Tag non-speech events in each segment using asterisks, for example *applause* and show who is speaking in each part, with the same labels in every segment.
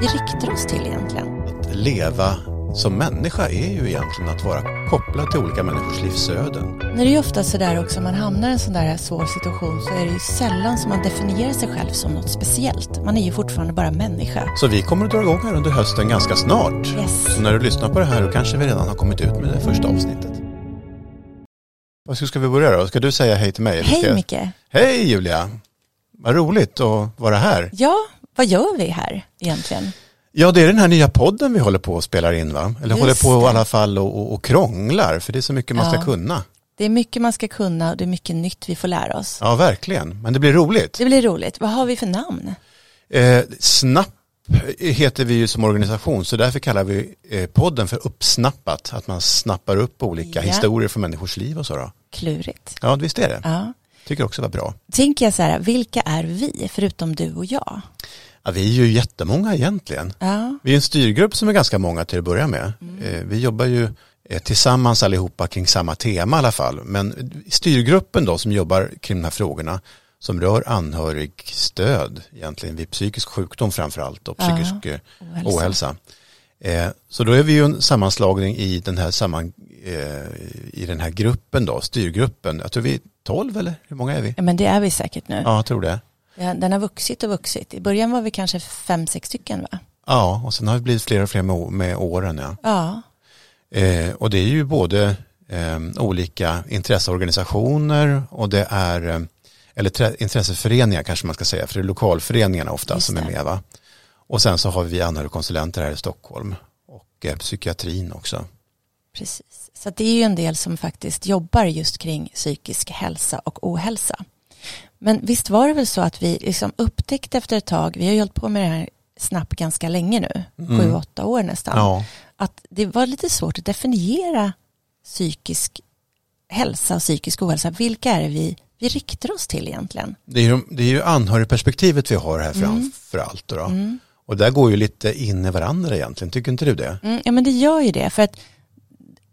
Speaker 1: vi riktar oss till egentligen?
Speaker 2: Att leva som människa är ju egentligen att vara kopplad till olika människors livsöden.
Speaker 1: Nu är det ju ofta sådär också, om man hamnar i en sån där svår situation så är det ju sällan som man definierar sig själv som något speciellt. Man är ju fortfarande bara människa.
Speaker 2: Så vi kommer att dra igång här under hösten ganska snart.
Speaker 1: Yes.
Speaker 2: Så när du lyssnar på det här då kanske vi redan har kommit ut med det första avsnittet. Vad ska- ska vi börja då? Ska du säga hej till mig? eller ska
Speaker 1: Hej
Speaker 2: jag-
Speaker 1: Micke!
Speaker 2: Hej Julia! Vad roligt att vara här.
Speaker 1: Ja, vad gör vi här egentligen?
Speaker 2: Ja, det är den här nya podden vi håller på och spelar in va? Eller
Speaker 1: Just
Speaker 2: håller på i
Speaker 1: det.
Speaker 2: alla fall och, och, och krånglar, för det är så mycket man
Speaker 1: Ja.
Speaker 2: ska kunna.
Speaker 1: Det är mycket man ska kunna och det är mycket nytt vi får lära oss.
Speaker 2: Ja, verkligen. Men det blir roligt.
Speaker 1: Det blir roligt. Vad har vi för namn?
Speaker 2: Eh, Snapp heter vi ju som organisation, så därför kallar vi eh, podden för Uppsnappat. Att man snappar upp olika
Speaker 1: Ja.
Speaker 2: historier från människors liv och så då.
Speaker 1: Klurigt.
Speaker 2: Ja, visst är det.
Speaker 1: Ja.
Speaker 2: Tycker också var bra.
Speaker 1: Tänker jag så här, vilka är vi förutom du och jag?
Speaker 2: Ja, vi är ju jättemånga egentligen.
Speaker 1: Ja,
Speaker 2: Vi är en styrgrupp som är ganska många till att börja med.
Speaker 1: Mm.
Speaker 2: Eh, Vi jobbar ju eh, tillsammans allihopa kring samma tema i alla fall. Men styrgruppen då som jobbar kring de här frågorna som rör anhörigstöd egentligen vid psykisk sjukdom framför allt och
Speaker 1: Ja,
Speaker 2: psykisk eh,
Speaker 1: ohälsa.
Speaker 2: ohälsa. Eh, Så då är vi ju en sammanslagning i den här, samman, eh, i den här gruppen då, styrgruppen. Jag tror vi är 12 eller hur många är vi?
Speaker 1: Ja, men det är vi säkert nu.
Speaker 2: Ja, jag tror det.
Speaker 1: Ja, Den har vuxit och vuxit. I början var vi kanske fem, sex stycken va?
Speaker 2: Ja, och sen har det blivit fler och fler med, å- med åren. Ja.
Speaker 1: Ja,
Speaker 2: Eh, och det är ju både eh, olika intresseorganisationer och det är, eh, eller trä- intresseföreningar kanske man ska säga, för det är lokalföreningarna ofta
Speaker 1: Just
Speaker 2: som
Speaker 1: det.
Speaker 2: är med va. Och sen så har vi anhörigkonsulenter här i Stockholm och eh, psykiatrin också.
Speaker 1: precis. Så att det är ju en del som faktiskt jobbar just kring psykisk hälsa och ohälsa. Men visst var det väl så att vi liksom upptäckte efter ett tag, vi har ju hållit på med det här snabbt ganska länge nu,
Speaker 2: Mm.
Speaker 1: sju, åtta år nästan,
Speaker 2: Ja,
Speaker 1: att det var lite svårt att definiera psykisk hälsa och psykisk ohälsa. Vilka är det vi, vi riktar oss till egentligen?
Speaker 2: det är ju, det är ju anhörigperspektivet vi har
Speaker 1: Mm.
Speaker 2: här framför allt. Då, då. Och där går ju lite in i varandra egentligen, tycker inte du det?
Speaker 1: Mm, ja men det gör ju det för att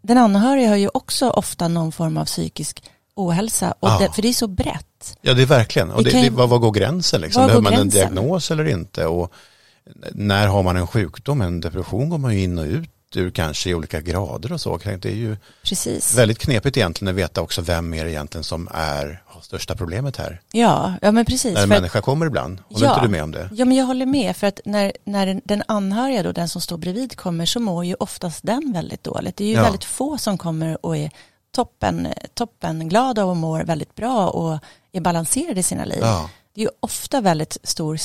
Speaker 1: den anhöriga har ju också ofta någon form av psykisk ohälsa. Och
Speaker 2: Ja.
Speaker 1: det, för det är så brett.
Speaker 2: Ja, det är verkligen. Och
Speaker 1: Det
Speaker 2: det
Speaker 1: kan ju-
Speaker 2: det, vad, vad går gränsen? Liksom?
Speaker 1: Var går
Speaker 2: Behöver man en
Speaker 1: gränsen?
Speaker 2: diagnos eller inte? Och när har man en sjukdom? En depression går man ju in och ut ur kanske i olika grader och så. Det är ju
Speaker 1: Precis.
Speaker 2: väldigt knepigt egentligen att veta också vem är det egentligen som är, har största problemet här.
Speaker 1: Ja, ja men precis.
Speaker 2: När en
Speaker 1: För att,
Speaker 2: människa kommer ibland. Håller
Speaker 1: Ja.
Speaker 2: inte du med om det?
Speaker 1: ja men jag håller med för att när, när den- den anhöriga då, den som står bredvid kommer så mår ju oftast den väldigt dåligt. Det är ju
Speaker 2: Ja.
Speaker 1: väldigt få som kommer och är toppen, toppenglada och mår väldigt bra och är balanserade i sina liv.
Speaker 2: Ja,
Speaker 1: Det är ju ofta väldigt stor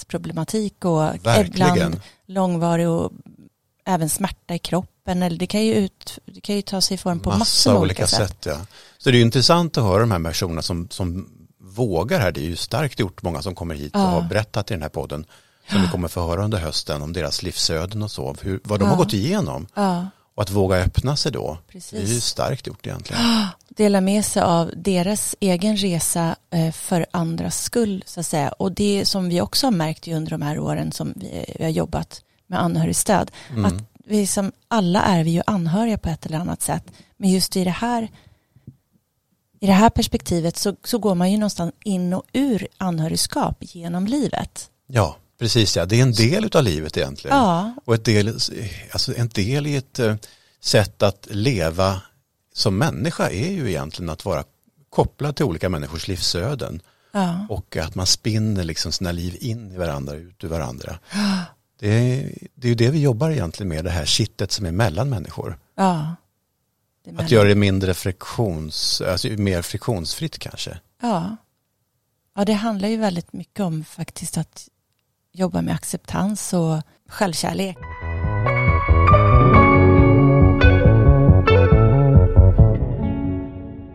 Speaker 1: stressproblematik och
Speaker 2: Verkligen.
Speaker 1: ibland långvarig och även smärta i kroppen. Eller det, kan ju ut, det kan ju ta sig form på massor
Speaker 2: massa
Speaker 1: av
Speaker 2: olika sätt. ja. Så det är ju intressant att höra de här personerna som, som vågar här. Det är ju starkt gjort många som kommer hit
Speaker 1: Ja.
Speaker 2: och har berättat i den här podden. Som vi kommer få höra under hösten om deras livsöden och så. Hur, vad de
Speaker 1: Ja.
Speaker 2: har gått igenom.
Speaker 1: Ja,
Speaker 2: Och att våga öppna sig då, det är ju
Speaker 1: precis.
Speaker 2: starkt gjort egentligen.
Speaker 1: Dela med sig av deras egen resa eh, för andras skull så att säga. Och det som vi också har märkt ju under de här åren som vi, vi har jobbat med anhörigstöd. Att
Speaker 2: Mm.
Speaker 1: vi som alla är vi ju anhöriga på ett eller annat sätt. Men just i det här i det här perspektivet så, så går man ju någonstans in och ur anhörigskap genom livet.
Speaker 2: Ja, precis ja. Det är en del av livet egentligen.
Speaker 1: Ja,
Speaker 2: Och ett del, alltså en del i ett eh, sätt att leva som människa är ju egentligen att vara kopplad till olika människors livsöden.
Speaker 1: ja,
Speaker 2: Och att man spinner liksom sina liv in i varandra, ut ur varandra. Det är, det är ju det vi jobbar egentligen med, det här kittet som är mellan människor.
Speaker 1: ja. Det menar-
Speaker 2: Att göra det mindre friktions, alltså mer friktionsfritt kanske.
Speaker 1: Ja. ja, det handlar ju väldigt mycket om faktiskt att jobba med acceptans och självkärlek.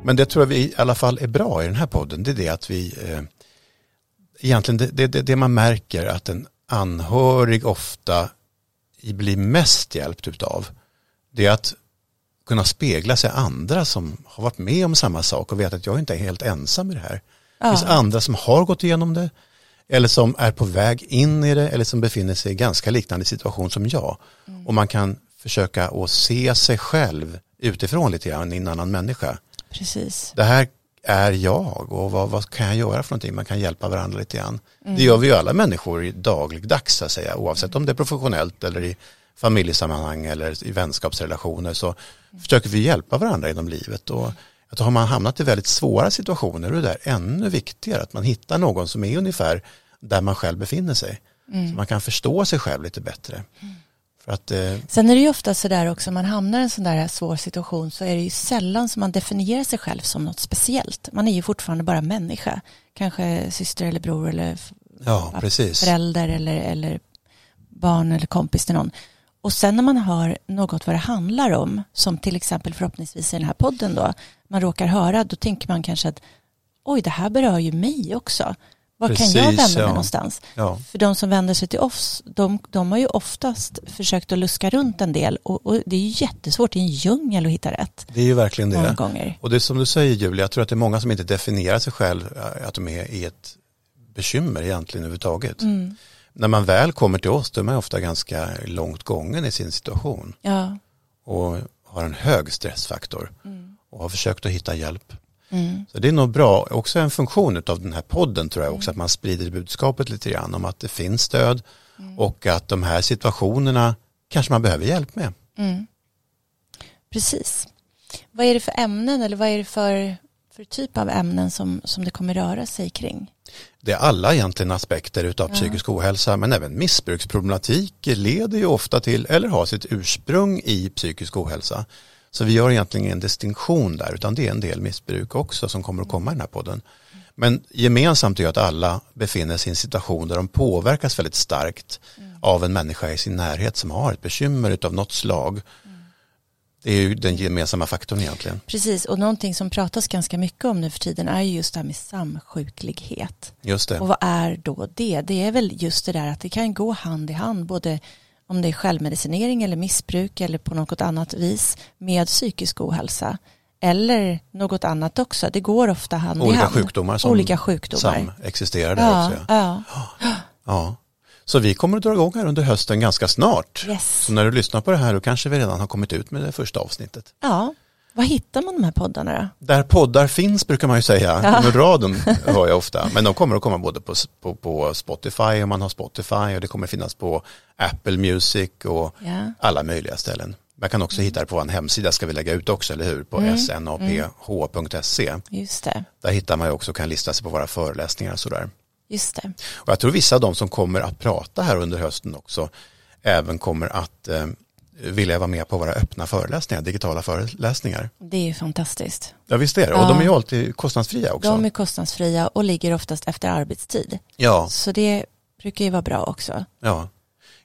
Speaker 2: Men det tror jag vi i alla fall är bra i den här podden, det är det att vi eh, egentligen, det, det- det, det man märker att en anhörig ofta i- blir mest hjälpt utav, det är att kunna spegla sig i andra som har varit med om samma sak och veta att jag inte är helt ensam i det här. Det finns
Speaker 1: Ja,
Speaker 2: andra som har gått igenom det eller som är på väg in i det eller som befinner sig i ganska liknande situation som jag. Och man kan försöka att se sig själv utifrån lite grann i en annan människa
Speaker 1: precis.
Speaker 2: det här är jag och vad, vad kan jag göra för någonting? Man kan hjälpa varandra lite grann. Det gör vi ju alla människor i dagligdags så att säga, oavsett om det är professionellt eller i familjesammanhang eller i vänskapsrelationer så försöker vi hjälpa varandra genom livet. Och att har man hamnat i väldigt svåra situationer då är det där ännu viktigare att man hittar någon som är ungefär där man själv befinner sig. Så man kan förstå sig själv lite bättre. För att eh,
Speaker 1: Sen är det ju ofta sådär också, om man hamnar i en sån där här svår situation så är det ju sällan som man definierar sig själv som något speciellt. Man är ju fortfarande bara människa. Kanske syster eller bror eller f-
Speaker 2: Ja, precis.
Speaker 1: förälder eller, eller barn eller kompis till någon. Och sen när man hör något vad det handlar om, som till exempel förhoppningsvis i den här podden då, man råkar höra, då tänker man kanske att oj, det här berör ju mig också. Var kan jag
Speaker 2: Precis,
Speaker 1: vända mig
Speaker 2: ja.
Speaker 1: någonstans?
Speaker 2: Ja,
Speaker 1: För de som vänder sig till oss, de, de har ju oftast försökt att luska runt en del och, och det är ju jättesvårt i en djungel att hitta rätt
Speaker 2: det är ju verkligen det.
Speaker 1: många gånger.
Speaker 2: Och det är som du säger Julia, jag tror att det är många som inte definierar sig själv eh, att de är i ett bekymmer egentligen överhuvudtaget.
Speaker 1: Mm.
Speaker 2: När man väl kommer till oss då är man ofta ganska långt gången i sin situation
Speaker 1: Ja.
Speaker 2: och har en hög stressfaktor
Speaker 1: Mm.
Speaker 2: och har försökt att hitta hjälp.
Speaker 1: Mm.
Speaker 2: Så det är nog bra, också en funktion av den här podden tror jag också, att man sprider budskapet lite grann om att det finns stöd och att de här situationerna kanske man behöver hjälp med.
Speaker 1: Mm. Precis. Vad är det för ämnen eller vad är det för, för typ av ämnen som, som det kommer röra sig kring?
Speaker 2: det är alla egentligen aspekter utav
Speaker 1: Ja.
Speaker 2: psykisk ohälsa men även missbruksproblematik leder ju ofta till eller har sitt ursprung i psykisk ohälsa. Så vi gör egentligen ingen distinktion där utan det är en del missbruk också som kommer att komma i den här podden. Men gemensamt är ju att alla befinner sig i en situation där de påverkas väldigt starkt
Speaker 1: Mm.
Speaker 2: av en människa i sin närhet som har ett bekymmer utav något slag.
Speaker 1: Mm.
Speaker 2: Det är ju den gemensamma faktorn egentligen.
Speaker 1: Precis, och någonting som pratas ganska mycket om nu för tiden är ju just det här med samsjuklighet.
Speaker 2: Just det.
Speaker 1: Och vad är då det? Det är väl just det där att det kan gå hand i hand, både om det är självmedicinering eller missbruk eller på något annat vis med psykisk ohälsa. Eller något annat också, det går ofta hand i
Speaker 2: Olika
Speaker 1: hand.
Speaker 2: sjukdomar som
Speaker 1: Olika sjukdomar.
Speaker 2: samexisterar där
Speaker 1: ja,
Speaker 2: också. Ja.
Speaker 1: ja.
Speaker 2: Ja, så vi kommer att dra igång här under hösten ganska snart.
Speaker 1: Yes.
Speaker 2: Så när du lyssnar på det här då kanske vi redan har kommit ut med det första avsnittet.
Speaker 1: Ja, var hittar man de här poddarna då?
Speaker 2: Där poddar finns brukar man ju säga,
Speaker 1: Ja.
Speaker 2: men radion hör jag ofta. Men de kommer att komma både på, på, på Spotify om man har Spotify och det kommer finnas på Apple Music och
Speaker 1: Ja. Mm.
Speaker 2: alla möjliga ställen. Man kan också hitta det på vår hemsida ska vi lägga ut också, eller hur? På snaph.se.
Speaker 1: Just det,
Speaker 2: E. Där hittar man ju också och kan lista sig på våra föreläsningar och sådär.
Speaker 1: just det.
Speaker 2: Och jag tror vissa av de som kommer att prata här under hösten också även kommer att eh, vilja vara med på våra öppna föreläsningar, digitala föreläsningar.
Speaker 1: Det är ju fantastiskt.
Speaker 2: Ja visst är det, och
Speaker 1: Ja.
Speaker 2: de är ju alltid kostnadsfria också.
Speaker 1: De är kostnadsfria och ligger oftast efter arbetstid.
Speaker 2: Ja,
Speaker 1: Så det brukar ju vara bra också.
Speaker 2: ja.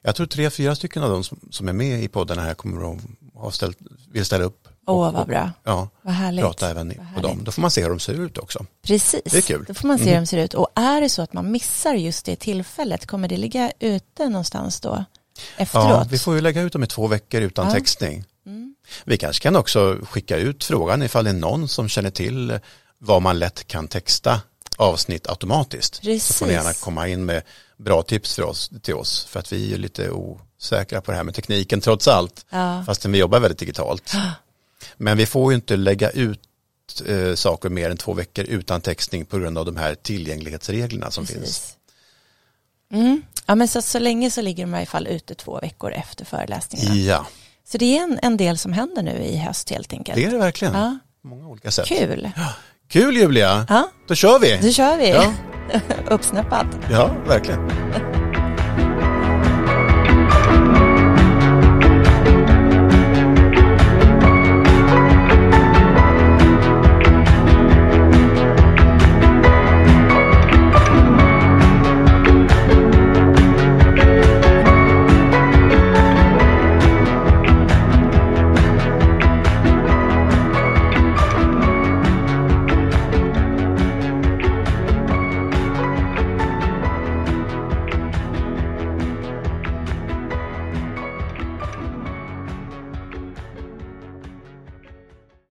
Speaker 2: Jag tror tre, fyra stycken av de som, som är med i podden här kommer att ha ställt, vill ställa upp.
Speaker 1: Åh, vad bra.
Speaker 2: Ja,
Speaker 1: Vad härligt.
Speaker 2: prata även
Speaker 1: Vad
Speaker 2: på
Speaker 1: härligt.
Speaker 2: dem. Då får man se hur de ser ut också.
Speaker 1: Precis.
Speaker 2: Det är kul. Mm.
Speaker 1: Då får man se hur de ser ut. Och är det så att man missar just det tillfället, kommer det ligga ute någonstans då? Efteråt?
Speaker 2: Ja, vi får ju lägga ut dem i två veckor utan
Speaker 1: Ja.
Speaker 2: textning.
Speaker 1: Mm.
Speaker 2: Vi kanske kan också skicka ut frågan ifall det är någon som känner till vad man lätt kan texta avsnitt automatiskt. Så får ni gärna
Speaker 1: Precis.
Speaker 2: komma in med bra tips för oss, till oss för att vi är ju lite osäkra på det här med tekniken trots allt.
Speaker 1: Ja.
Speaker 2: Fastän vi jobbar väldigt digitalt. Men vi får ju inte lägga ut eh, saker mer än två veckor utan textning på grund av de här tillgänglighetsreglerna som finns.
Speaker 1: Precis. Mm. Ja, men så, så länge så ligger de i alla fall ute två veckor efter föreläsningarna.
Speaker 2: Ja,
Speaker 1: Så det är en, en del som händer nu i höst helt enkelt.
Speaker 2: det är det verkligen.
Speaker 1: Ja,
Speaker 2: Många olika sätt.
Speaker 1: kul.
Speaker 2: Kul Julia,
Speaker 1: Ja,
Speaker 2: då kör vi!
Speaker 1: nu kör vi.
Speaker 2: Ja.
Speaker 1: *laughs* Uppsnäppat.
Speaker 2: Ja, verkligen.